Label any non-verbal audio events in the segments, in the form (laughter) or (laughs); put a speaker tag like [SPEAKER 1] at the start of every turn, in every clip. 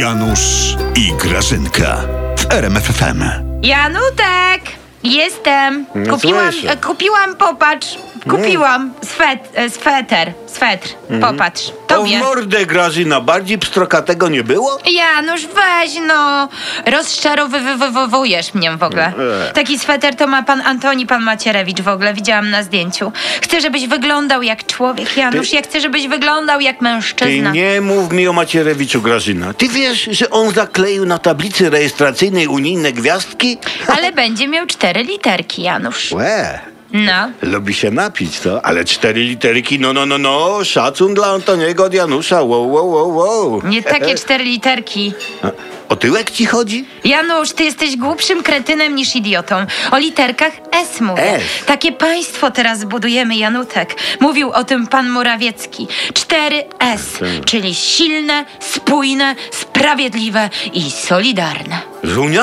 [SPEAKER 1] Janusz i Grażynka w RMFFM.
[SPEAKER 2] Janutek! Jestem.
[SPEAKER 3] No
[SPEAKER 2] Kupiłam,
[SPEAKER 3] słyszę.
[SPEAKER 2] e, kupiłam popatrz. Kupiłam swet, e, sweter. Swetr.
[SPEAKER 3] Mhm.
[SPEAKER 2] Popatrz.
[SPEAKER 3] To w
[SPEAKER 2] Tobie.
[SPEAKER 3] mordę Grażyna, bardziej pstrokatego nie było?
[SPEAKER 2] Janusz, weź no. Rozczarowywujesz mnie w ogóle.
[SPEAKER 3] Eee.
[SPEAKER 2] Taki sweter to ma pan Antoni, pan Macierewicz w ogóle. Widziałam na zdjęciu. Chcę, żebyś wyglądał jak człowiek, Janusz.
[SPEAKER 3] Ty-
[SPEAKER 2] Ja chcę, żebyś wyglądał jak
[SPEAKER 3] Ty
[SPEAKER 2] mężczyzna.
[SPEAKER 3] nie mów mi o Macierewiczu, Grażyna. Ty wiesz, że on zakleił na tablicy rejestracyjnej unijne gwiazdki?
[SPEAKER 2] Ale będzie miał cztery literki, Janusz.
[SPEAKER 3] Łe,
[SPEAKER 2] No.
[SPEAKER 3] lubi się napić, to? Ale cztery literki, no, no, no, no, szacun dla Antoniego od Janusza, wow, wow, wow, wow.
[SPEAKER 2] Nie
[SPEAKER 3] (laughs)
[SPEAKER 2] takie cztery literki.
[SPEAKER 3] A, O tyłek ci chodzi?
[SPEAKER 2] Janusz, ty jesteś głupszym kretynem niż idiotą. O literkach S mówię.
[SPEAKER 3] S.
[SPEAKER 2] Takie państwo teraz budujemy, Janutek. Mówił o tym pan Morawiecki.
[SPEAKER 3] Tak.
[SPEAKER 2] 4S, czyli silne, spójne, sprawiedliwe i solidarne.
[SPEAKER 3] Z Unią?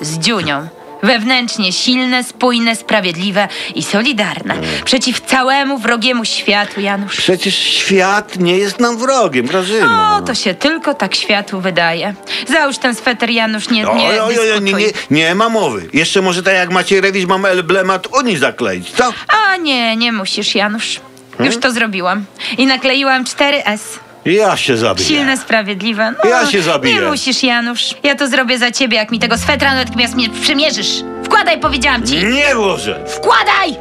[SPEAKER 2] Z dziunią. Wewnętrznie silne, spójne, sprawiedliwe i solidarne.
[SPEAKER 3] Tak.
[SPEAKER 2] Przeciw całemu wrogiemu światu, Janusz.
[SPEAKER 3] Przecież świat nie jest nam wrogiem, Grażyna.
[SPEAKER 2] O, to się tylko tak światu wydaje. Załóż ten sweter, Janusz, nie, nie,
[SPEAKER 3] No, Oj, oj, oj, nie,
[SPEAKER 2] dyskutuj.
[SPEAKER 3] nie, nie ma mowy. Jeszcze może tak jak Macierewicz mam emblemat Unii zakleić, co?
[SPEAKER 2] A nie, nie musisz, Janusz.
[SPEAKER 3] Hmm?
[SPEAKER 2] Już to zrobiłam. I nakleiłam 4S.
[SPEAKER 3] Ja się zabiję.
[SPEAKER 2] Silne, sprawiedliwe. No,
[SPEAKER 3] Ja się zabiję.
[SPEAKER 2] Nie musisz, Janusz. Ja to zrobię za ciebie, jak mi tego swetra natychmiast nie przymierzysz. Wkładaj, powiedziałam ci.
[SPEAKER 3] Nie może! Ну
[SPEAKER 2] Wkładaj!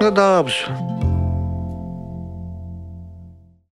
[SPEAKER 3] No dobrze.